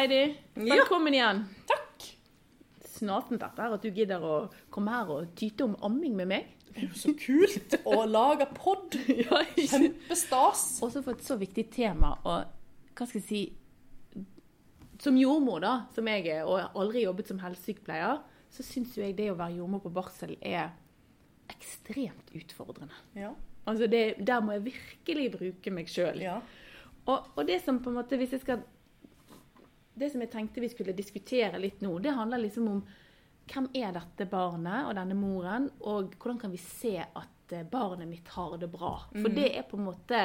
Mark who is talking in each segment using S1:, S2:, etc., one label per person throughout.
S1: Heidi,
S2: Ja.
S1: velkommen igjen.
S2: Takk.
S1: Snatent dette her at du gidder å komme her og tyte om amming med meg.
S2: Det er jo så kult å lage pod. Kjempestas.
S1: Også for et så viktig tema og hva skal jeg si Som jordmor, da, som jeg er, og aldri jobbet som helsesykepleier, så syns jo jeg det å være jordmor på barsel er ekstremt utfordrende.
S2: Ja.
S1: Altså det, der må jeg virkelig bruke meg sjøl.
S2: ja.
S1: Og, og det som på en måte, hvis jeg skal Det som jeg tenkte vi skulle diskutere litt nå, det handler liksom om hvem er dette barnet og denne moren, og hvordan kan vi se at eh, barnet mitt har det bra? For det er på en måte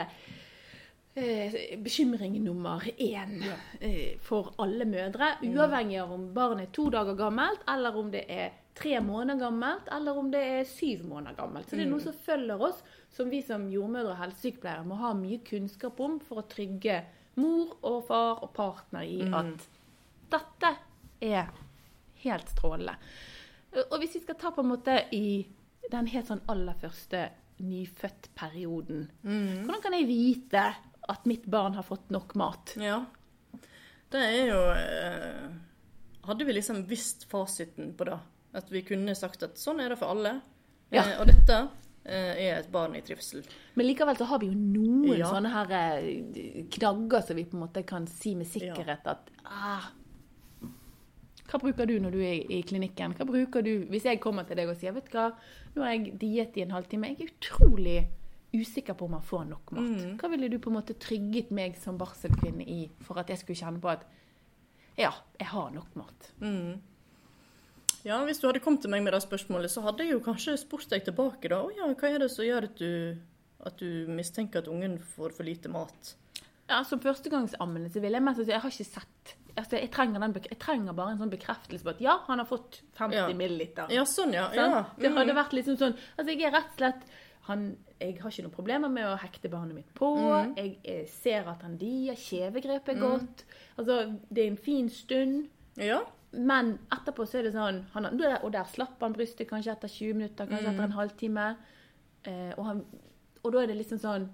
S1: eh, bekymring nummer én eh, for alle mødre. Uavhengig av om barnet er to dager gammelt, eller om det er tre måneder gammelt, eller om det er syv måneder gammelt. Så det er noe som følger oss, som vi som jordmødre og helsesykepleiere må ha mye kunnskap om for å trygge mor og far og partner i at dette er helt strålende. Eh, Og hvis vi skal ta på en måte i den helt sånn aller første nyfødt-perioden, hvordan kan jeg vite at mitt barn har fått nok mat?
S2: ja. Det er jo eh, Hadde vi liksom visst fasiten på det, at vi kunne sagt at sånn er det for alle,
S1: Ja.
S2: eh, og dette eh, er et barn i trivsel.
S1: Men likevel så har vi jo noen
S2: Ja.
S1: sånne her eh, knagger som vi på en måte kan si med sikkerhet at ah, Hva bruker du når du er i klinikken? Hva bruker du hvis jeg kommer til deg og sier vet du hva, nå har jeg diett i en halvtime, jeg er utrolig usikker på om han får nok mat. Hva ville du på en måte trygget meg som barselkvinne i for at jeg skulle kjenne på at ja, jeg har nok mat?
S2: Ja, Hvis du hadde kommet til meg med det spørsmålet, så hadde jeg jo kanskje spurt deg tilbake da. Å ja, hva er det som gjør at du, at du mistenker at ungen får for lite mat?
S1: Ja, Som førstegangsammende så vil jeg mest altså, Jeg har ikke sett altså, jeg, trenger den, bek- jeg trenger bare en sånn bekreftelse på at ja, han har fått 50
S2: Ja.
S1: milliliter.
S2: Ja, sånn, ja.
S1: Sant?
S2: ja.
S1: Det hadde vært liksom sånn Altså, jeg er rett og slett han, Jeg har ikke noen problemer med å hekte barnet mitt på.
S2: Mm.
S1: Jeg, eh, ser at han dier. Kjevegrep er godt. Altså, det er en fin stund.
S2: ja.
S1: Men etterpå så er det sånn han, har- Og der slapp han brystet kanskje etter 20 minutter, kanskje etter
S2: Mm.
S1: en halvtime. Eh, og, han, og da er det liksom sånn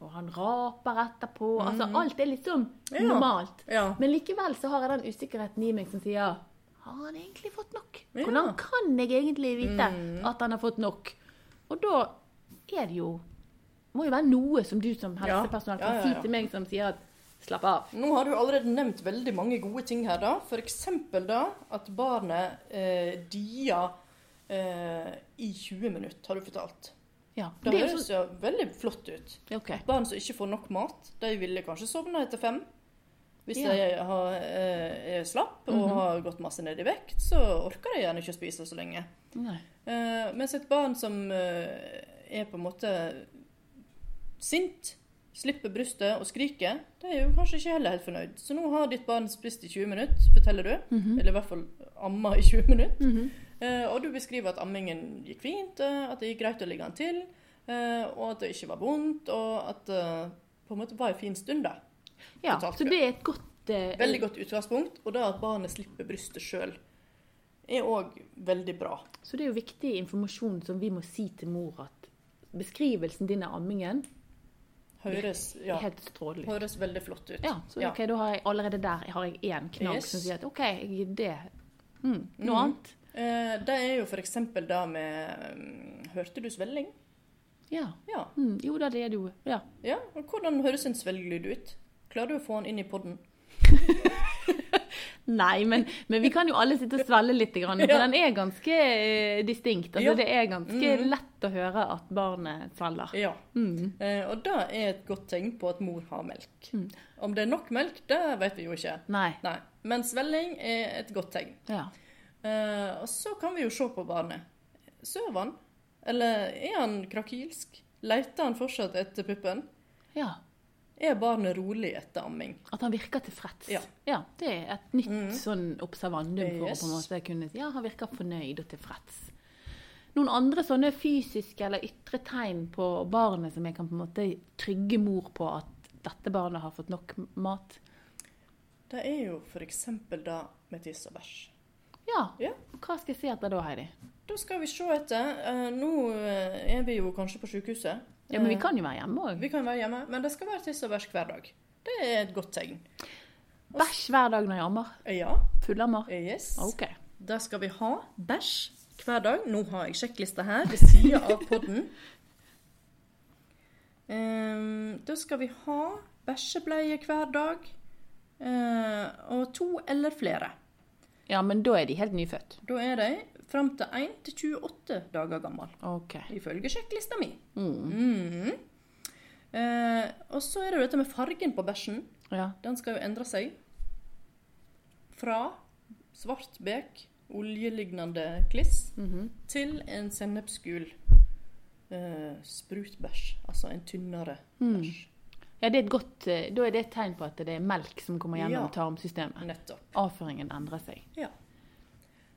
S1: Og han raper etterpå. Altså, alt er liksom
S2: Mm. Ja.
S1: normalt.
S2: Ja.
S1: Men likevel så har jeg den usikkerheten i meg som sier Har han egentlig fått nok?
S2: Ja. Mm.
S1: Hvordan kan jeg egentlig vite at han har fått nok? Og da er det jo Må jo være noe som du som
S2: Ja.
S1: helsepersonell
S2: Ja,
S1: kan
S2: ja, ja.
S1: si til meg som sier at Slapp av.
S2: Nå har du allerede nevnt veldig mange gode ting her, da. F.eks. da at barnet eh, dier eh, i 20 minutter, har du fortalt.
S1: Ja.
S2: Det
S1: er jo
S2: høres jo veldig flott ut.
S1: så- OK.
S2: Barn som ikke får nok mat, de ville kanskje sovne etter fem. Hvis
S1: Ja. Mhm.
S2: de har, eh, er slapp og har gått masse ned i vekt, så orker de gjerne ikke å spise så lenge.
S1: Nei.
S2: Eh, mens et barn som eh, er på en måte sint, slipper brystet og skriker, det er jo kanskje ikke heller helt fornøyd. Så nå har ditt barn spist i 20 minutter, forteller du.
S1: Mhm.
S2: Eller i hvert fall amma i 20 minutter. Eh, og du beskriver at ammingen gikk fint, eh, at det gikk greit å ligge han til, eh, og at det ikke var vondt, og at det på en måte var en fin stund, da.
S1: Ja,
S2: Fortalte
S1: så
S2: du.
S1: det er et godt eh,
S2: Veldig godt utgangspunkt. Og det at barnet slipper brystet sjøl, er òg veldig bra.
S1: Så det er jo viktig informasjon som vi må si til mor at beskrivelsen din av ammingen
S2: Høres ja.
S1: er helt strålende.
S2: Høres veldig flott ut.
S1: Ja, så ok, da har jeg allerede der har jeg én knagg
S2: Yes. Mhm.
S1: som sier at OK, jeg- det mm, Noe annet?
S2: Eh, det er jo f.eks. det med mm, Hørte du svelling?
S1: Ja.
S2: Ja.
S1: Mm, jo da, det er det jo. Ja.
S2: ja. Og hvordan høres en svelgelyd ut? Klarer du å få den inn i podden?
S1: Nei, men, men vi kan jo alle sitte og svelle litt, grann, for
S2: Ja.
S1: den er ganske eh, distinkt. Altså,
S2: Ja. Mhm.
S1: Det er ganske lett å høre at barnet svelger.
S2: Ja. Eh, og det er et godt tegn på at mor har melk. Om det er nok melk, det vet vi jo ikke.
S1: Nei.
S2: Nei. Men svelling er et godt tegn.
S1: Ja.
S2: Eh, og så kan vi jo se på barnet. Sover han? Eller er han krakilsk? Leter han fortsatt etter puppen?
S1: ja.
S2: Er barnet rolig etter amming?
S1: At han virker tilfreds.
S2: Ja. Mm.
S1: det er et nytt sånn observandum for å
S2: Yes.
S1: på en måte kunne si ja, han virker fornøyd og tilfreds. Noen andre sånne fysiske eller ytre tegn på barnet som jeg kan på en måte trygge mor på at dette barnet har fått nok mat?
S2: Det er jo f.eks. det med tiss og bæsj.
S1: Ja.
S2: Ja.
S1: Hva skal jeg si etter da, Heidi?
S2: Da skal vi se etter. Eh, Nå eh, er vi jo kanskje på sykehuset.
S1: Ja, Men vi
S2: Eh,
S1: kan jo være hjemme òg.
S2: vi kan være hjemme, men det skal være tiss og bæsj hver dag. Det er et godt tegn. Og
S1: Bæsj hver dag når jeg ammer.
S2: Ja. eh,
S1: Fullammer.
S2: Yes.
S1: OK.
S2: Da skal vi ha bæsj hver dag. Nå har jeg sjekklista her ved sida av podden. Ehm, da skal vi ha bæsjebleie hver dag. eh, og to eller flere.
S1: Ja, men da er de helt nyfødt.
S2: Da er de fram til 1 til 28 dager gammel,
S1: OK.
S2: ifølge sjekklista mi.
S1: Mm.
S2: Mhm. Eh, og så er det jo dette med fargen på bæsjen.
S1: Ja.
S2: Den skal jo endre seg fra svart bek, oljelignende kliss,
S1: Mhm.
S2: til en sennepsgul eh, sprutbæsj. Altså en tynnere
S1: Mm.
S2: bæsj.
S1: ja, det er et godt eh, Da er det et tegn på at det er melk som kommer gjennom
S2: Ja.
S1: tarmsystemet.
S2: Nettopp.
S1: Avføringen endrer seg.
S2: Ja.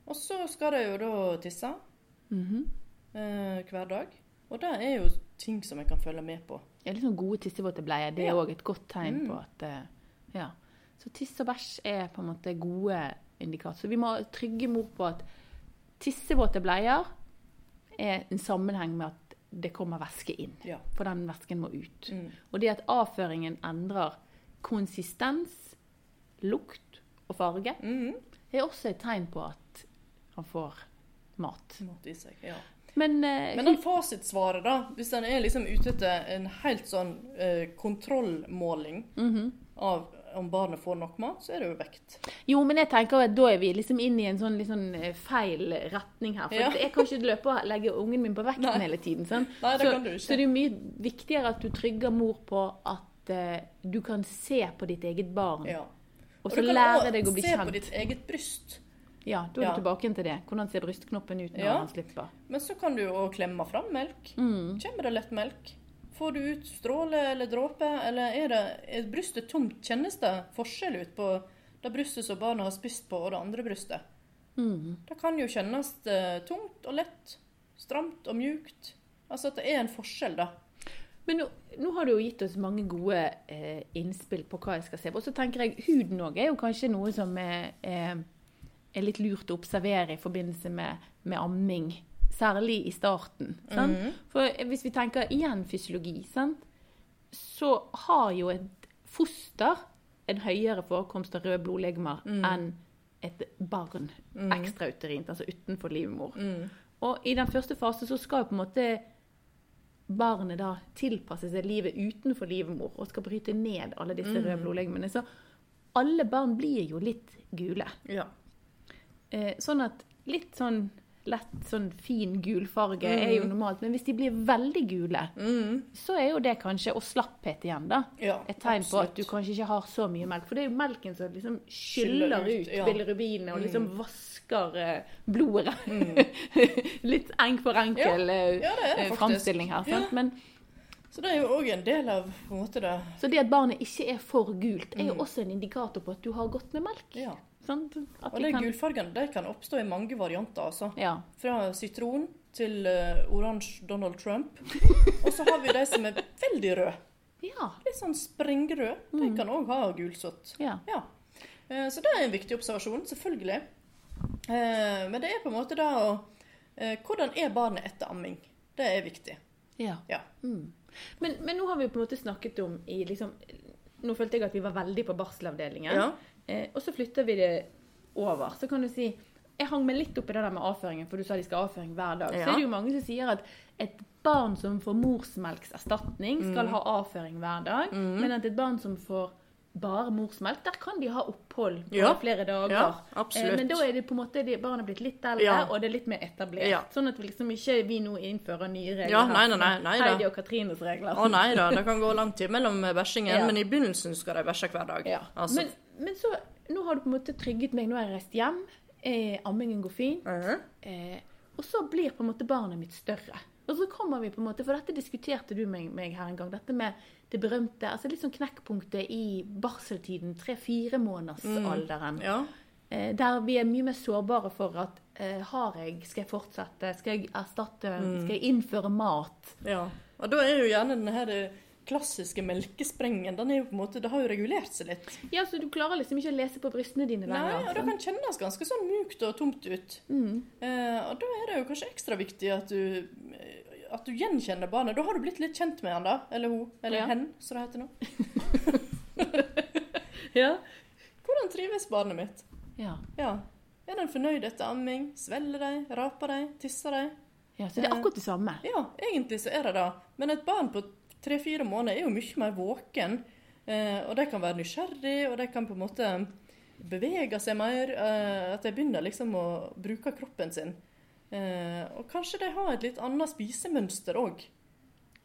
S2: Og så skal de jo da tisse
S1: Mhm.
S2: eh, hver dag. Og det er jo ting som jeg kan følge med på.
S1: Ja, litt sånn gode tissevåte bleier, det er
S2: Ja.
S1: òg et godt tegn
S2: Mm.
S1: på at eh, Ja. Så tiss og bæsj er på en måte gode indikatorer. Så vi må trygge mor på at tissevåte bleier er en sammenheng med at det kommer væske inn.
S2: Ja.
S1: For den væsken må ut.
S2: Mm.
S1: Og det at avføringen endrer konsistens, lukt og farge,
S2: Mhm.
S1: er også et tegn på at han får mat.
S2: Mat i seg, ja.
S1: Men, eh,
S2: Men den fasitsvaret, da, hvis den er liksom ute etter en helt sånn eh, kontrollmåling
S1: Mhm.
S2: av om barnet får nok mat, så er det jo vekt.
S1: Jo, men jeg tenker at da er vi liksom inn i en sånn litt sånn eh, feil retning her. For
S2: Ja.
S1: at jeg kan ikke løpe og legge ungen min på vekten
S2: Nei.
S1: hele tiden. sant?
S2: Nei, det
S1: så,
S2: kan du ikke.
S1: så det er jo mye viktigere at du trygger mor på at eh, du kan se på ditt eget barn,
S2: Ja.
S1: og så
S2: du kan
S1: lære
S2: også
S1: deg å bli
S2: se på
S1: kjent.
S2: ditt eget bryst.
S1: Ja, Da er du
S2: Ja.
S1: tilbake igjen til det. Hvordan ser brystknoppen ut når
S2: Ja.
S1: han slipper?
S2: Men så kan du jo klemme fram melk.
S1: Mm.
S2: Kommer det lett melk? Får du ut stråle eller dråpe, eller er, det, er brystet tomt? Kjennes det forskjell ut på det brystet som barnet har spist på, og det andre brystet?
S1: Mm.
S2: Det kan jo kjennes eh, tungt og lett, stramt og mjukt. Altså at det er en forskjell, da.
S1: Men nå, nå har du jo gitt oss mange gode eh, innspill på hva jeg skal se på. Og så tenker jeg huden òg er jo kanskje noe som er, er, er litt lurt å observere i forbindelse med, med amming. Særlig i starten. Sant? For hvis vi tenker igjen fysiologi, sant? så har jo et foster en høyere forekomst av røde blodlegemer enn et barn ekstrautérint, altså utenfor livmor. Og i den første fasen så skal jo på en måte barnet da tilpasse seg livet utenfor livmor og skal bryte ned alle disse røde
S2: Mm.
S1: blodlegemene. Så alle barn blir jo litt gule.
S2: Ja.
S1: Eh, sånn at litt sånn lett sånn fin gul farge er
S2: Mm.
S1: jo normalt, men hvis de blir veldig gule, så er jo det kanskje Og slapphet igjen, da.
S2: Ja,
S1: Et tegn på at
S2: absolutt.
S1: du kanskje ikke har så mye melk. For det er jo melken som liksom
S2: Skyller
S1: skyller
S2: ut,
S1: ut
S2: ja. Mm.
S1: bilirubinene og liksom vasker eh, blodet. litt enk for enkel eh,
S2: Mm. Ja, det er det
S1: eh,
S2: faktisk.
S1: framstilling her. Sant? Men,
S2: Så det er jo òg en del av på en måte det
S1: så det at barnet ikke er for gult, er jo også en indikator på at du har godt med melk.
S2: Mm. Ja.
S1: Sant? At
S2: Og
S1: de
S2: de
S1: kan-
S2: gulfargene de kan oppstå i mange varianter, altså.
S1: Ja.
S2: Fra sitron til eh, oransje Donald Trump. Og så har vi de som er veldig røde.
S1: ja.
S2: Litt sånn sprengrøde. De
S1: Mm.
S2: kan òg ha gulsott.
S1: ja.
S2: Ja. Eh, Så det er en viktig observasjon, selvfølgelig. Eh, Men det er på en måte da å eh, Hvordan er barnet etter amming? Det er viktig.
S1: Ja.
S2: Ja.
S1: Mm. Men, men nå har vi på en måte snakket om i liksom Nå følte jeg at vi var veldig på barselavdelingen.
S2: Ja.
S1: Eh, og så flytter vi det over. Så kan du si Jeg hang meg litt opp i det der med avføringen, for du sa de skal ha avføring hver dag. Så
S2: Ja.
S1: er det jo mange som sier at et barn som får morsmelkserstatning,
S2: Mm.
S1: skal ha avføring hver dag. Men at et barn som får bare morsmelk, der kan de ha opphold på
S2: Ja.
S1: flere dager.
S2: Ja, absolutt.
S1: Eh, Men da er det på en måte de, barna blitt litt eldre,
S2: Ja.
S1: og det er litt mer etablert.
S2: Ja.
S1: Sånn at vi liksom ikke vi nå innfører nye regler.
S2: Ja,
S1: her,
S2: nei, nei,
S1: som
S2: nei, nei da.
S1: Heidi og Katrines regler.
S2: Å nei da, det kan gå lang tid mellom bæsjingen,
S1: Ja.
S2: men i begynnelsen skal de bæsje hver dag.
S1: Ja.
S2: Altså.
S1: Men, men så, nå har du på en måte trygget meg. Nå har jeg reist hjem. Eh, ammingen går fin.
S2: Mhm.
S1: Eh, og så blir på en måte barnet mitt større. Og så kommer vi på en måte, For dette diskuterte du med meg her en gang. Dette med det berømte altså litt sånn knekkpunktet i barseltiden. Tre-fire månedersalderen.
S2: ja.
S1: Eh, Der vi er mye mer sårbare for at eh, har jeg, skal jeg fortsette, skal jeg erstatte,
S2: Mm.
S1: skal jeg innføre mat?
S2: Ja. Og da er jo gjerne den her eh, klassiske melkesprengen, den er jo på en måte, det har jo regulert seg litt.
S1: Ja, så du klarer liksom ikke å lese på brystene dine
S2: Nei, og
S1: lenger. Mm.
S2: det kan kjennes ganske sånn mjukt og tomt ut. Eh, og da er det jo kanskje ekstra viktig at du, eh, at du gjenkjenner barnet. Da har du blitt litt kjent med han da, eller hun, eller
S1: Ja.
S2: hen, som det heter nå.
S1: Ja.
S2: Hvordan trives barnet mitt?
S1: Ja.
S2: Ja. Er den fornøyd etter amming? Svelger de? Raper de? Tisser de?
S1: ja. Så det er akkurat det samme.
S2: Ja, egentlig så er det det. Men et barn på tre-fire måneder er jo mye mer våken. Eh, og de kan være nysgjerrig, og de kan på en måte bevege seg mer. Eh, at de begynner liksom å bruke kroppen sin. Eh, og kanskje de har et litt annet spisemønster òg.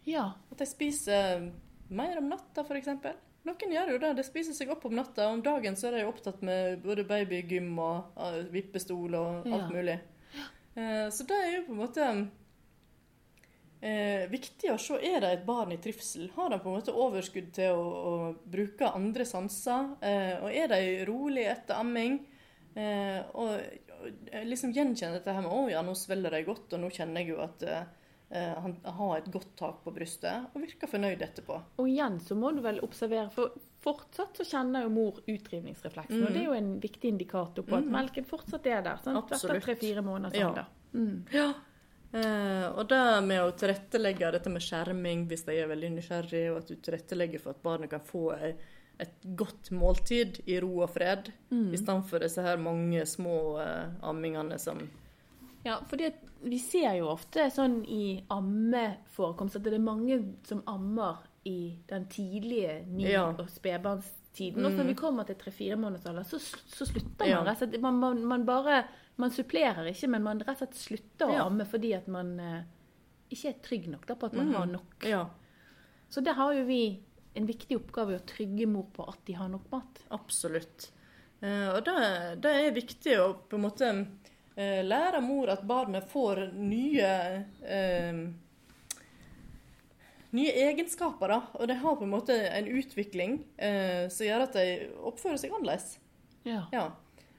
S1: Ja.
S2: At de spiser eh, mer om natta, f.eks. Noen gjør jo det. De spiser seg opp om natta. Om dagen så er de opptatt med både babygym og eh, vippestol og alt
S1: Ja.
S2: mulig. Eh, Så det er jo på en måte eh, viktig å se er det et barn i trivsel. Har de på en måte overskudd til å, å bruke andre sanser? Eh, og er de rolig etter amming? Eh, og, og liksom gjenkjenne dette her med 'Å ja, nå svelger de godt', og 'nå kjenner jeg jo at eh, eh, han har et godt tak på brystet', og virker fornøyd etterpå.
S1: Og igjen så må du vel observere, for fortsatt så kjenner jo mor utrivningsrefleksen.
S2: Mm.
S1: Og det er jo en viktig indikator på at melken fortsatt er der. Sant?
S2: Absolutt.
S1: Etter tre-fire måneder.
S2: Ja.
S1: Sånn, da. Mm.
S2: Ja. Eh, og det med å tilrettelegge dette med skjerming hvis de er veldig nysgjerrige, og at du tilrettelegger for at barnet kan få ei- et godt måltid i ro og fred, i stedet for disse her mange små eh, ammingene som
S1: Ja, for det, vi ser jo ofte sånn i ammeforekomst at det er mange som ammer i den tidlige ny-
S2: Ja. Mm.
S1: og spedbarnstiden. Og når vi kommer til tre-fire måneders alder, så, så slutter man
S2: Ja.
S1: rett og slett. Man, man, man bare Man supplerer ikke, men man rett og slett slutter
S2: Ja.
S1: å amme fordi at man eh, ikke er trygg nok da, på
S2: Mm.
S1: at man har nok.
S2: Ja,
S1: Så der har jo vi en viktig oppgave i å trygge mor på at de har nok mat.
S2: absolutt. Eh, og det, det er viktig å på en måte eh, lære mor at barnet får nye eh, nye egenskaper, da. Og de har på en måte en utvikling eh, som gjør at de oppfører seg annerledes.
S1: Ja.
S2: Ja.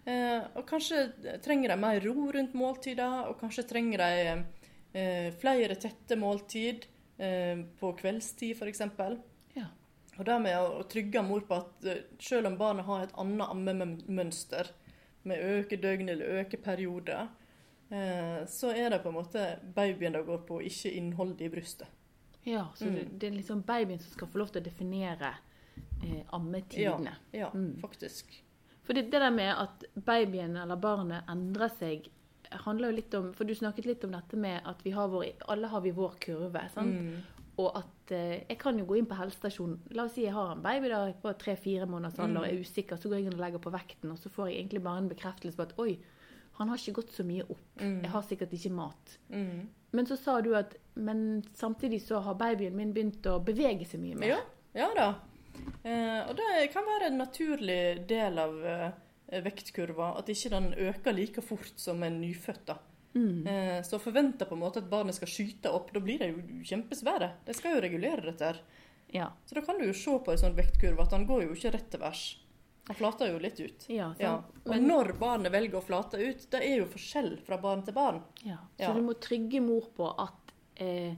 S2: Eh, og kanskje trenger de mer ro rundt måltider, og kanskje trenger de eh, flere tette måltid eh, på kveldstid f.eks.
S1: Ja.
S2: Og det med å, å trygge mor på at eh, selv om barnet har et annet ammemønster, med økedøgn eller økeperioder, eh, så er det på en måte babyen det går på, ikke innholdet i brystet.
S1: ja så det, det er liksom babyen som skal få lov til å definere eh, ammetidene.
S2: Ja,
S1: Mm.
S2: faktisk.
S1: For det, det der med at babyen eller barnet endrer seg, handler jo litt om For du snakket litt om dette med at vi har vår, alle har vi vår kurve. sant?
S2: Mm.
S1: Og at eh, jeg kan jo gå inn på helsestasjonen La oss si jeg har en baby da på tre-fire måneders alder og er usikker, så går jeg inn og legger på vekten, og så får jeg egentlig bare en bekreftelse på at oi, han har ikke gått så mye opp. Jeg har sikkert ikke mat.
S2: Mm.
S1: Men så sa du at men samtidig så har babyen min begynt å bevege seg mye mer.
S2: Ja, ja da. Eh, og det kan være en naturlig del av eh, vektkurva, at ikke den øker like fort som en nyfødt. da.
S1: Mm.
S2: Eh, så forventer på en måte at barnet skal skyte opp, da blir de jo kjempesvære. De skal jo regulere dette. her.
S1: Ja.
S2: Så da kan du jo se på en sånn vektkurve at den går jo ikke rett til værs. Den flater jo litt ut.
S1: Ja, sant.
S2: Ja. Og
S1: Men-
S2: når barnet velger å flate ut, det er jo forskjell fra barn til barn.
S1: Ja. Så
S2: Ja.
S1: du må trygge mor på at eh,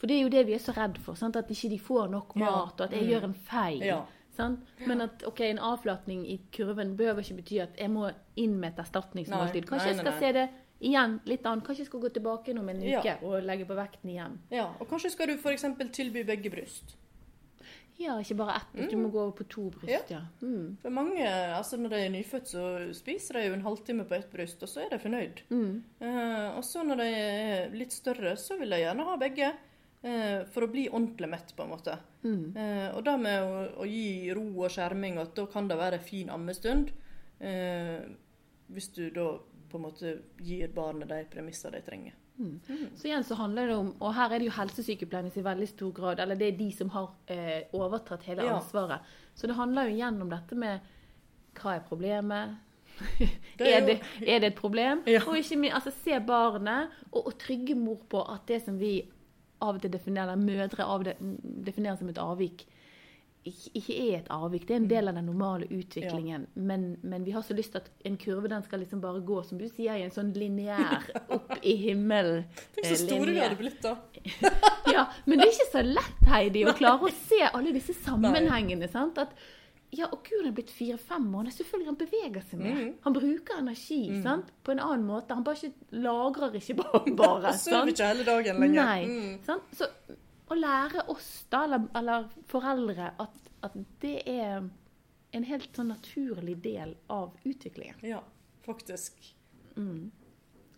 S1: For det er jo det vi er så redd for. Sant? At ikke de får nok
S2: Ja. Mm.
S1: mat, og at jeg gjør en feil.
S2: Ja.
S1: Sant? Men at ok, en avflatning i kurven behøver ikke bety at jeg må inn med et erstatningsmåltid.
S2: Nei,
S1: Kanskje
S2: nei,
S1: jeg skal
S2: nei,
S1: se det igjen litt annet. Kanskje jeg skal gå tilbake igjen om en
S2: Ja.
S1: uke og legge på vekten igjen.
S2: Ja, Og kanskje skal du f.eks. tilby begge bryst.
S1: Ja, ikke bare ett. hvis Du
S2: Mm.
S1: må gå over på to bryst, ja. Mm.
S2: For mange, altså Når de er nyfødt, så spiser de jo en halvtime på ett bryst, og så er de fornøyd.
S1: Mm.
S2: Eh, og så når de er litt større, så vil de gjerne ha begge. eh, for å bli ordentlig mett, på en måte.
S1: Mm.
S2: Eh, og det med å, å gi ro og skjerming, at da kan det være en fin ammestund. eh, hvis du da på en måte gir barnet de premisser de trenger.
S1: Så igjen så handler det om Og her er det jo helsesykepleierne i veldig stor grad, eller det er de som har eh, overtatt hele
S2: Ja.
S1: ansvaret. Så det handler jo igjen om dette med hva er problemet?
S2: Det er
S1: er, det, er det et problem?
S2: Ja.
S1: Og ikke minst altså, se barnet, og, og trygge mor på at det som vi av og til definerer, eller mødre av det, definerer som et avvik, ikke ikke er et avvik. Det er en del av den normale utviklingen. Men, men vi har så lyst til at en kurve den skal liksom bare gå, som du sier, i en sånn lineær opp i himmelen.
S2: Tenk så store vi
S1: linje.
S2: hadde blitt da.
S1: Ja, men det er ikke så lett, Heidi, å klare å se alle disse sammenhengene. sant? At ja, og kuren er blitt fire-fem måneder. Selvfølgelig han beveger seg mer.
S2: Mm.
S1: Han bruker energi sant? på en annen måte. Han bare ikke, lagrer ikke bare.
S2: Og
S1: bare
S2: sover
S1: sant?
S2: ikke hele dagen lenger.
S1: Nei.
S2: Mm.
S1: Sant? Så å lære oss, da, eller, eller foreldre, at, at det er en helt sånn naturlig del av utviklingen.
S2: Ja, faktisk.
S1: Mm.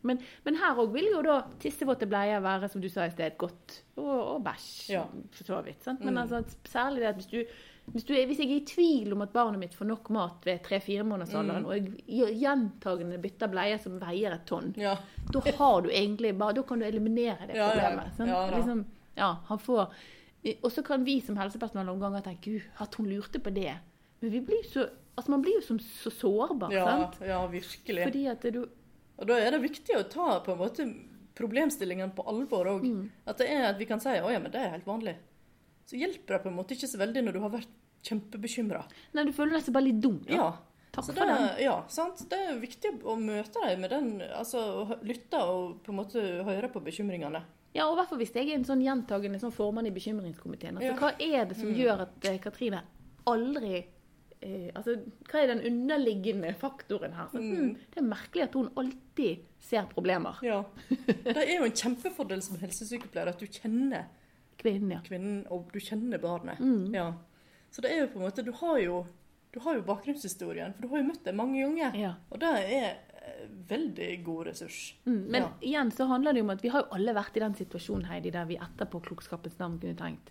S1: Men, men her òg vil jo da tissevåte bleier være, som du sa i sted, godt. Og, og bæsj,
S2: Ja.
S1: for så vidt. Sant? Men
S2: Mm.
S1: altså, særlig det at hvis, du, hvis, du er, hvis jeg er i tvil om at barnet mitt får nok mat ved tre-fire månedersalderen,
S2: Mm.
S1: og jeg gjentagende bytter bleier som veier et tonn,
S2: Ja.
S1: da har du egentlig bare, da kan du eliminere det
S2: Ja, ja, ja.
S1: problemet. sant?
S2: Ja, da.
S1: liksom, ja, han får, eh, og så kan vi som helsepersonell noen ganger tenke Gud, at hun lurte på det. Men vi blir så, altså man blir jo som, så sårbar.
S2: Ja,
S1: sant?
S2: ja, virkelig.
S1: Fordi at du
S2: Og da er det viktig å ta på en måte problemstillingen på alvor òg.
S1: Mm.
S2: At det er at vi kan si å ja, men det er helt vanlig. Så hjelper det på en måte ikke så veldig når du har vært kjempebekymra.
S1: Nei, du føler deg nesten bare litt dum. da.
S2: Ja.
S1: Takk
S2: Så
S1: for den.
S2: det, ja, sant? det er viktig å møte dem med den, altså å hø- lytte og på en måte høre på bekymringene.
S1: Ja, og i hvert fall hvis jeg er en sånn gjentagende sånn formann i bekymringskomiteen. Altså,
S2: Ja.
S1: Hva er det som gjør at eh, Katrine aldri eh, altså, Hva er den underliggende faktoren her? Så,
S2: Mm.
S1: hm, det er merkelig at hun alltid ser problemer.
S2: Ja. Det er jo en kjempefordel som helsesykepleier at du kjenner
S1: Kvinnen, ja.
S2: kvinnen og du kjenner barnet.
S1: Mm.
S2: Ja. Så det er jo på en måte Du har jo, du har jo bakgrunnshistorien, for du har jo møtt dem mange ganger.
S1: ja.
S2: Og det er eh, veldig god ressurs.
S1: Mm. Men
S2: Ja.
S1: igjen så handler det jo om at vi har jo alle vært i den situasjonen, Heidi, der vi etterpå klokskapens navn kunne tenkt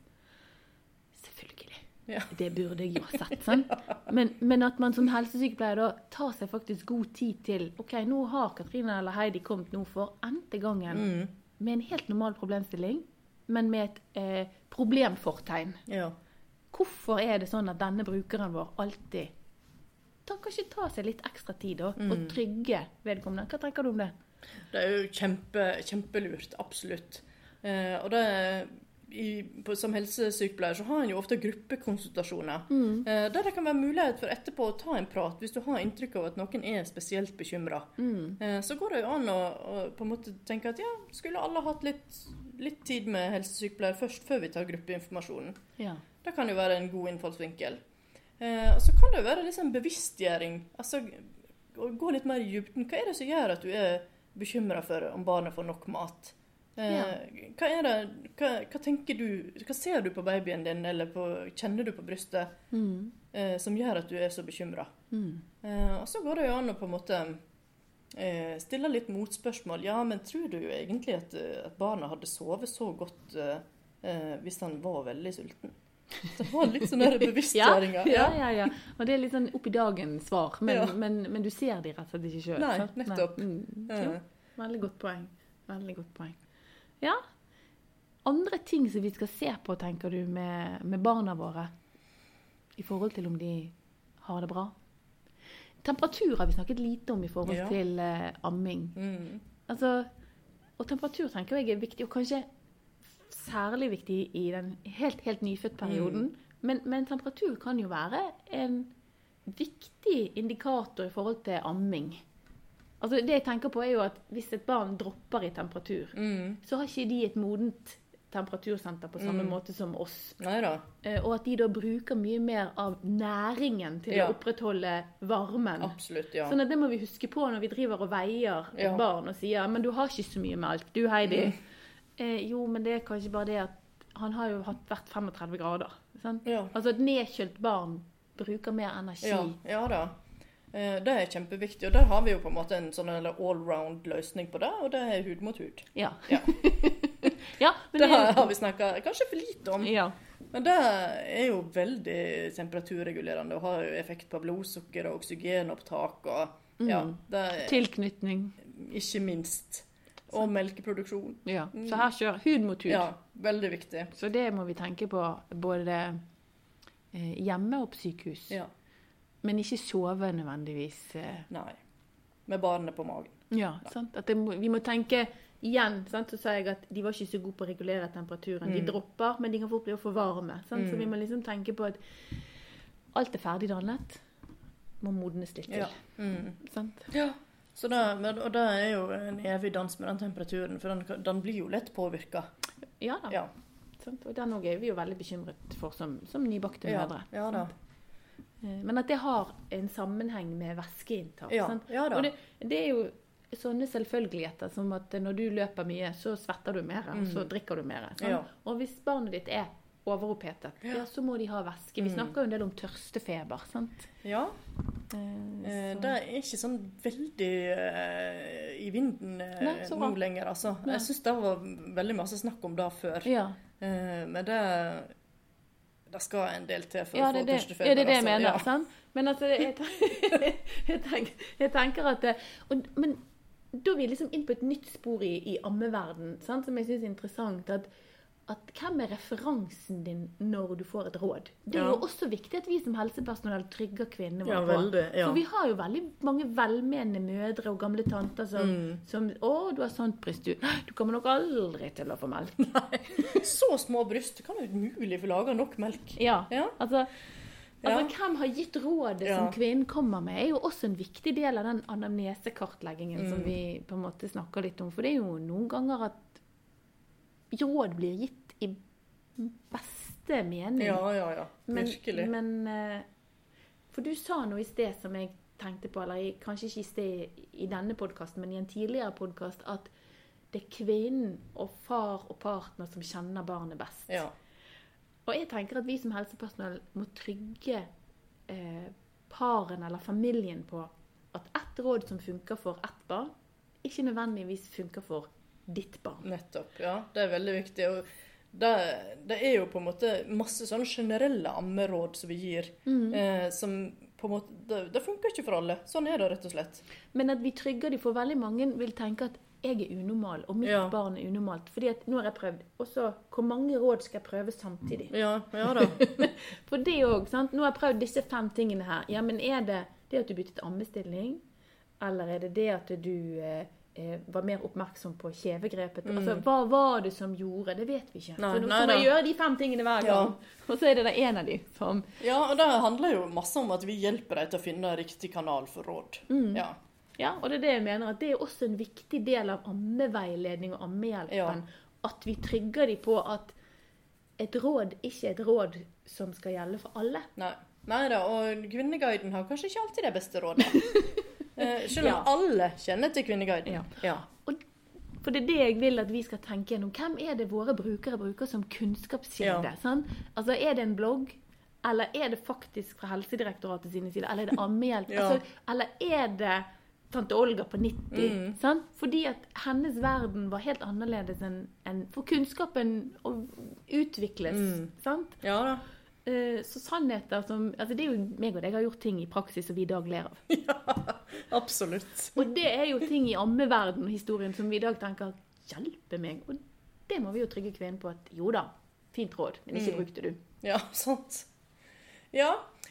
S1: Selvfølgelig.
S2: Ja.
S1: Det burde jeg jo ha sett. sant? Men, men at man som helsesykepleier da tar seg faktisk god tid til OK, nå har Katrine eller Heidi kommet nå for n-te gangen
S2: Mm.
S1: med en helt normal problemstilling, men med et eh, problemfortegn.
S2: Ja.
S1: Hvorfor er det sånn at denne brukeren vår alltid Da kan ikke ta seg litt ekstra tid da, og
S2: Mm.
S1: trygge vedkommende? Hva tenker du om det?
S2: Det er jo kjempe, kjempelurt, absolutt. Eh, og det i, på, Som helsesykepleier så har en jo ofte gruppekonsultasjoner. Eh, der det kan være mulighet for etterpå å ta en prat hvis du har inntrykk av at noen er spesielt bekymra.
S1: Mm.
S2: Eh, så går det jo an å, å på en måte tenke at ja, skulle alle hatt litt, litt tid med helsesykepleier først, før vi tar gruppeinformasjonen.
S1: Ja.
S2: Det kan jo være en god innfallsvinkel. Eh, og så kan det jo være liksom bevisstgjøring. Altså, å gå litt mer i dybden. Hva er det som gjør at du er bekymra for om barnet får nok mat? Eh, hva, er det, hva, hva tenker du Hva ser du på babyen din, eller på, kjenner du på brystet,
S1: Mm.
S2: eh, som gjør at du er så bekymra?
S1: Mm.
S2: Eh, og så går det jo an å på en måte eh, stille litt motspørsmål. Ja, men tror du jo egentlig at, eh, at barna hadde sovet så godt eh, eh, hvis han var veldig sulten? Det var litt sånn der bevisstgjøringer.
S1: Ja, ja, ja. Og det er litt sånn opp i dagen-svar, men,
S2: Ja.
S1: men, men du ser de rett og slett ikke sjøl.
S2: Nei, nettopp.
S1: Mm.
S2: Eh,
S1: Jo, veldig godt poeng. Veldig godt poeng. Ja. Andre ting som vi skal se på, tenker du, med, med barna våre i forhold til om de har det bra? Temperatur har vi snakket lite om i forhold
S2: Ja.
S1: til eh, amming.
S2: Mm.
S1: Altså, og temperatur tenker jeg er viktig, og kanskje særlig viktig i den helt, helt
S2: Mm.
S1: nyfødt-perioden. Men, men temperatur kan jo være en viktig indikator i forhold til amming. Altså, det jeg tenker på er jo at hvis et barn dropper i temperatur,
S2: Mm.
S1: så har ikke de et modent temperatursenter på samme
S2: Mm.
S1: måte som oss.
S2: Nei da.
S1: Eh, Og at de da bruker mye mer av næringen til
S2: Ja.
S1: å opprettholde varmen.
S2: Absolutt, ja.
S1: Sånn at det må vi huske på når vi driver og veier et
S2: Ja. Mm.
S1: barn og sier men du har ikke så mye melk, du Heidi. Eh, jo, men det er kanskje bare det at han har jo hatt vært 35 grader. Sant?
S2: Ja,
S1: Altså et nedkjølt barn bruker mer energi.
S2: ja, ja da. Eh, Det er kjempeviktig, og der har vi jo på en måte en sånn allround-løsning på det, og det er hud mot hud.
S1: Ja.
S2: Ja.
S1: Ja, men
S2: Det
S1: det,
S2: har vi snakka kanskje for lite om.
S1: ja.
S2: Men det er jo veldig temperaturregulerende og har jo effekt på blodsukker og oksygenopptak og ja,
S1: Mm.
S2: det er
S1: Tilknytning.
S2: ikke minst. Og melkeproduksjon.
S1: Ja. Så her kjører hud mot hud.
S2: Mm. Ja, veldig viktig.
S1: Så det må vi tenke på både eh, hjemme og på sykehus.
S2: Ja.
S1: Men ikke sove nødvendigvis. Eh,
S2: Nei. Med barnet på magen.
S1: Ja, sant? At det må, vi må tenke igjen. Sant? Så sa jeg at de var ikke så gode på å regulere temperaturen.
S2: Mm.
S1: De dropper, men de kan fort bli for varme. Sant? Så vi må liksom tenke på at alt er ferdig dannet. Må modnes litt til.
S2: Ja. Mm.
S1: Sant?
S2: ja. Så det, men, og det er jo en evig dans med den temperaturen, for den, kan- den blir jo lett påvirka.
S1: Ja da.
S2: Ja.
S1: Sant? Og den òg er vi jo veldig bekymret for som, som nybakte
S2: Ja,
S1: mødre.
S2: ja da.
S1: Eh, Men at det har en sammenheng med væskeinntak.
S2: Ja,
S1: sant?
S2: ja da.
S1: Og det, det er jo sånne selvfølgeligheter som at når du løper mye, så svetter du mer, og så drikker du mer. sant?
S2: Mm. Ja.
S1: Og hvis barnet ditt er overopphetet, ja. så må de ha væske.
S2: Mm.
S1: Vi snakker jo en del om tørstefeber. sant?
S2: Ja. Eh,
S1: Eh,
S2: det er ikke sånn veldig eh, i vinden eh,
S1: Nei, så
S2: nå
S1: bra.
S2: lenger, altså.
S1: Nei.
S2: Jeg syns det var veldig masse snakk om det før.
S1: så- Ja,
S2: Eh, men det Det skal en del til for
S1: ja,
S2: å
S1: det
S2: få
S1: er det,
S2: tørstefeber.
S1: ja, det, er det jeg
S2: altså.
S1: mener.
S2: Ja.
S1: sant? Men altså, jeg, ten- jeg, tenker, jeg tenker at det, og, Men da er vi liksom inn på et nytt spor i, i ammeverden, sant? som jeg syns er interessant. at at Hvem er referansen din når du får et råd? Det er
S2: Ja.
S1: jo også viktig at vi som helsepersonell trygger kvinnene våre.
S2: Ja,
S1: på.
S2: veldig, ja.
S1: For vi har jo veldig mange velmenende mødre og gamle tanter som,
S2: Mm.
S1: som 'Å, du har sånt bryst, du. Du kommer nok aldri til å få melk.'
S2: Så små bryst kan jo umulig få laga nok melk.
S1: Ja.
S2: Ja.
S1: Altså,
S2: Ja.
S1: altså, hvem har gitt rådet
S2: Ja.
S1: som kvinnen kommer med, er jo også en viktig del av den anamnesekartleggingen som
S2: Mm.
S1: vi på en måte snakker litt om. For det er jo noen ganger at råd blir gitt i beste mening.
S2: Ja, ja, ja.
S1: men,
S2: Virkelig.
S1: men eh, For du sa noe i sted som jeg tenkte på, eller i- kanskje ikke i sted i- i denne podkasten, men i en tidligere podkast, at det er kvinnen og far og partner som kjenner barnet best.
S2: ja.
S1: Og jeg tenker at vi som helsepersonell må trygge eh, paren eller familien på at ett råd som funker for ett barn, ikke nødvendigvis funker for ditt barn.
S2: Nettopp, ja. Det er veldig viktig. Og det, det er jo på en måte masse sånne generelle ammeråd som vi gir,
S1: Mm.
S2: eh, som på en måte det, det funker ikke for alle. Sånn er det rett og slett.
S1: Men at vi trygger de, for veldig mange vil tenke at jeg er unormal, og mitt
S2: Ja.
S1: barn er unormalt. Fordi at nå har jeg prøvd. Og så hvor mange råd skal jeg prøve samtidig?
S2: Ja, ja da.
S1: For det òg, sant. Nå har jeg prøvd disse fem tingene her. Ja, men er det det at du byttet ammestilling? Eller er det det at du eh, eh, var mer oppmerksom på kjevegrepet? Altså, hva var det som gjorde Det vet vi ikke.
S2: Mm. Nei,
S1: så nå
S2: nei
S1: skal man
S2: da.
S1: gjøre de fem tingene hver
S2: Ja.
S1: gang. Og så er det da en av de som
S2: Ja, og det handler jo masse om at vi hjelper dem til å finne riktig kanal for råd. Ja.
S1: Ja, og det er det jeg mener, at det er også en viktig del av ammeveiledning og ammehjelpen. At vi trygger de på at et råd ikke er et råd som skal gjelde for alle.
S2: Nei. Neida, og Kvinneguiden har kanskje ikke alltid de beste rådene. Eh, selv om
S1: Ja.
S2: alle kjenner til Kvinneguiden.
S1: Ja.
S2: ja.
S1: Og, for det er det jeg vil at vi skal tenke gjennom. Hvem er det våre brukere bruker som kunnskapskilde?
S2: Ja.
S1: sant? Altså, er det en blogg? Eller er det faktisk fra Helsedirektoratet sine sider? Eller er det ammehjelp?
S2: Ja.
S1: altså, eller er det tante Olga på 90?
S2: Mm.
S1: Sant? Fordi at hennes verden var helt annerledes enn enn- For kunnskapen å- utvikles,
S2: Mm.
S1: sant?
S2: ja da.
S1: Eh, Så sannheter som Altså, det er jo meg og deg har gjort ting i praksis som vi i dag ler av.
S2: Absolutt.
S1: Og det er jo ting i ammeverden og historien som vi i dag tenker hjelpe meg. Og det må vi jo trygge kvinnen på at jo da, fint råd, men ikke bruk det du.
S2: Ja, sant. Ja,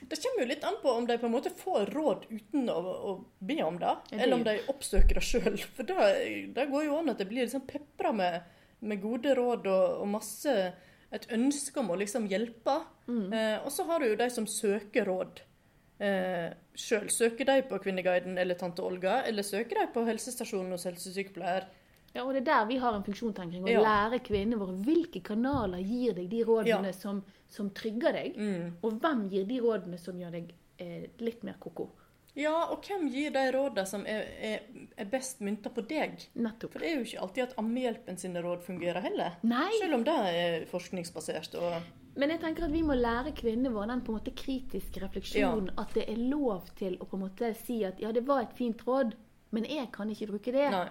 S2: det kommer jo litt an på om de på en måte får råd uten å, å be om det,
S1: Ja, det
S2: eller om
S1: gjør
S2: de oppsøker det sjøl. For det, det går jo an at det blir liksom pepra med, med gode råd og, og masse Et ønske om å liksom hjelpe.
S1: Mm.
S2: Eh, og så har du jo de som søker råd eh, sjøl. Søker de på Kvinneguiden eller Tante Olga, eller søker de på helsestasjonen hos helsesykepleier?
S1: Ja, og det er der vi har en funksjonstenkning. Å
S2: Ja.
S1: lære kvinnene våre hvilke kanaler gir deg de rådene
S2: Ja.
S1: som, som trygger deg, og hvem gir de rådene som gjør deg eh, litt mer ko-ko.
S2: Ja, og hvem gir de rådene som er, er, er best mynta på deg?
S1: Nettopp.
S2: For det er jo ikke alltid at ammehjelpen sine råd fungerer heller.
S1: Nei.
S2: Selv om det er forskningsbasert. Og
S1: Men jeg tenker at vi må lære kvinnene våre den på en måte kritiske refleksjonen. At det er lov til å på en måte si at ja, det var et fint råd, men jeg kan ikke bruke det.
S2: Nei.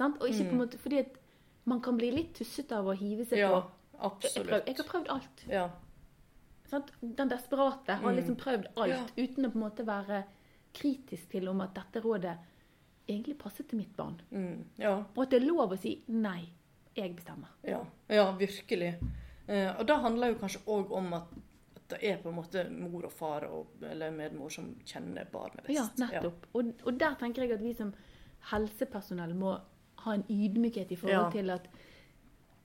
S1: Sant? Og ikke på en måte, fordi at man kan bli litt tusset av å hive seg
S2: Ja,
S1: på. Jeg, jeg, prøv,
S2: absolutt.
S1: jeg har prøvd alt.
S2: Ja.
S1: Sant? Den desperate har liksom prøvd alt uten å på en måte være kritisk til om at dette rådet egentlig passer til mitt barn.
S2: Mm, ja.
S1: Og at det er lov å si nei, jeg bestemmer.
S2: Ja, ja virkelig. Eh, og det handler jo kanskje òg om at, at det er på en måte mor og far og, eller medmor som kjenner barnet best.
S1: Ja, nettopp. Og, og der tenker jeg at vi som helsepersonell må ha en ydmykhet i forhold
S2: Ja.
S1: til at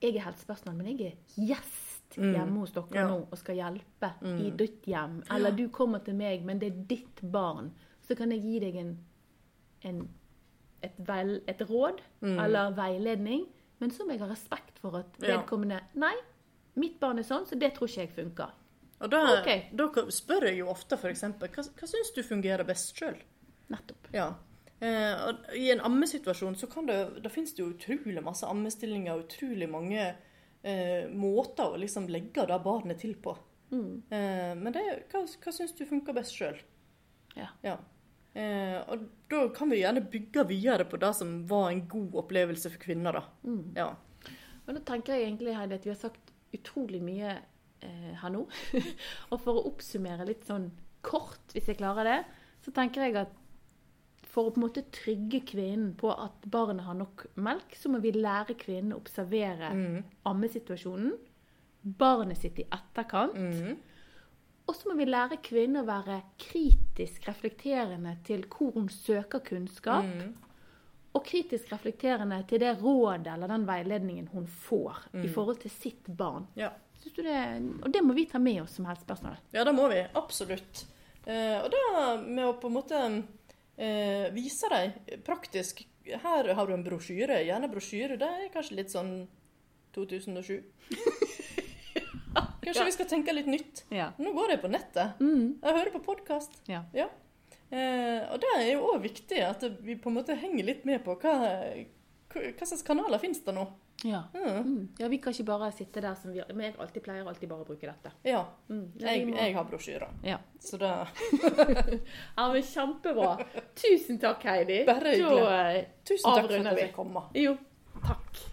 S1: jeg er helsepersonell, men jeg er gjest hjemme hos dere
S2: Mm. Ja. Mm.
S1: nå og skal hjelpe i ditt hjem. Eller du kommer til meg, men det er ditt barn. Så kan jeg gi deg en, en, et, vel, et råd eller veiledning, men som jeg har respekt for at
S2: Mm. Ja.
S1: vedkommende Nei, mitt barn er sånn, så det tror ikke jeg funker.
S2: Og da,
S1: Ok.
S2: da spør jeg jo ofte f.eks.: Hva, hva syns du fungerer best sjøl?
S1: Nettopp.
S2: Ja. Eh, og I en ammesituasjon så kan det, da finnes det jo utrolig masse ammestillinger og utrolig mange eh, måter å liksom legge det barnet til på.
S1: Mm.
S2: Eh, men det, er- hva, hva syns du funker best sjøl?
S1: Ja.
S2: Eh, og da kan vi gjerne bygge videre på det som var en god opplevelse for kvinner, da.
S1: Mm.
S2: Ja.
S1: Og nå tenker jeg egentlig Heidi, at vi har sagt utrolig mye eh, her nå. og for å oppsummere litt sånn kort, hvis jeg klarer det, så tenker jeg at for å på en måte trygge kvinnen på at barnet har nok melk, så må vi lære kvinnen å observere
S2: Mm.
S1: ammesituasjonen, barnet sitt i etterkant.
S2: Mm.
S1: Og så må vi lære kvinnen å være kritisk reflekterende til hvor hun søker kunnskap,
S2: Mm.
S1: og kritisk reflekterende til det rådet eller den veiledningen hun får i forhold til sitt barn.
S2: Ja.
S1: Synes du det, og det må vi ta med oss som helsepersonell.
S2: ja, det må vi. Absolutt. Eh, og da med å på en måte eh, vise dem praktisk Her har du en brosjyre. Gjerne brosjyre. Det er kanskje litt sånn 2007. Kanskje vi skal tenke litt nytt.
S1: Ja.
S2: Nå går jeg på nettet.
S1: Mm.
S2: Jeg hører på podkast.
S1: Ja.
S2: Eh, og det er jo òg viktig at vi på en måte henger litt med på hva, hva, hva slags kanaler finnes det nå.
S1: Ja.
S2: Mm.
S1: Mm. ja, vi kan ikke bare sitte der som vi Men jeg alltid pleier alltid bare å bruke dette.
S2: Ja,
S1: Mm. Ja, vi
S2: jeg,
S1: må-
S2: jeg har brosjyrer.
S1: Ja.
S2: Så det
S1: ja, men kjempebra. Tusen takk, Heidi.
S2: Bare hyggelig.
S1: Da eh,
S2: Tusen takk for
S1: Avrunda
S2: at jeg
S1: vi.
S2: fikk komme.
S1: Jo, takk.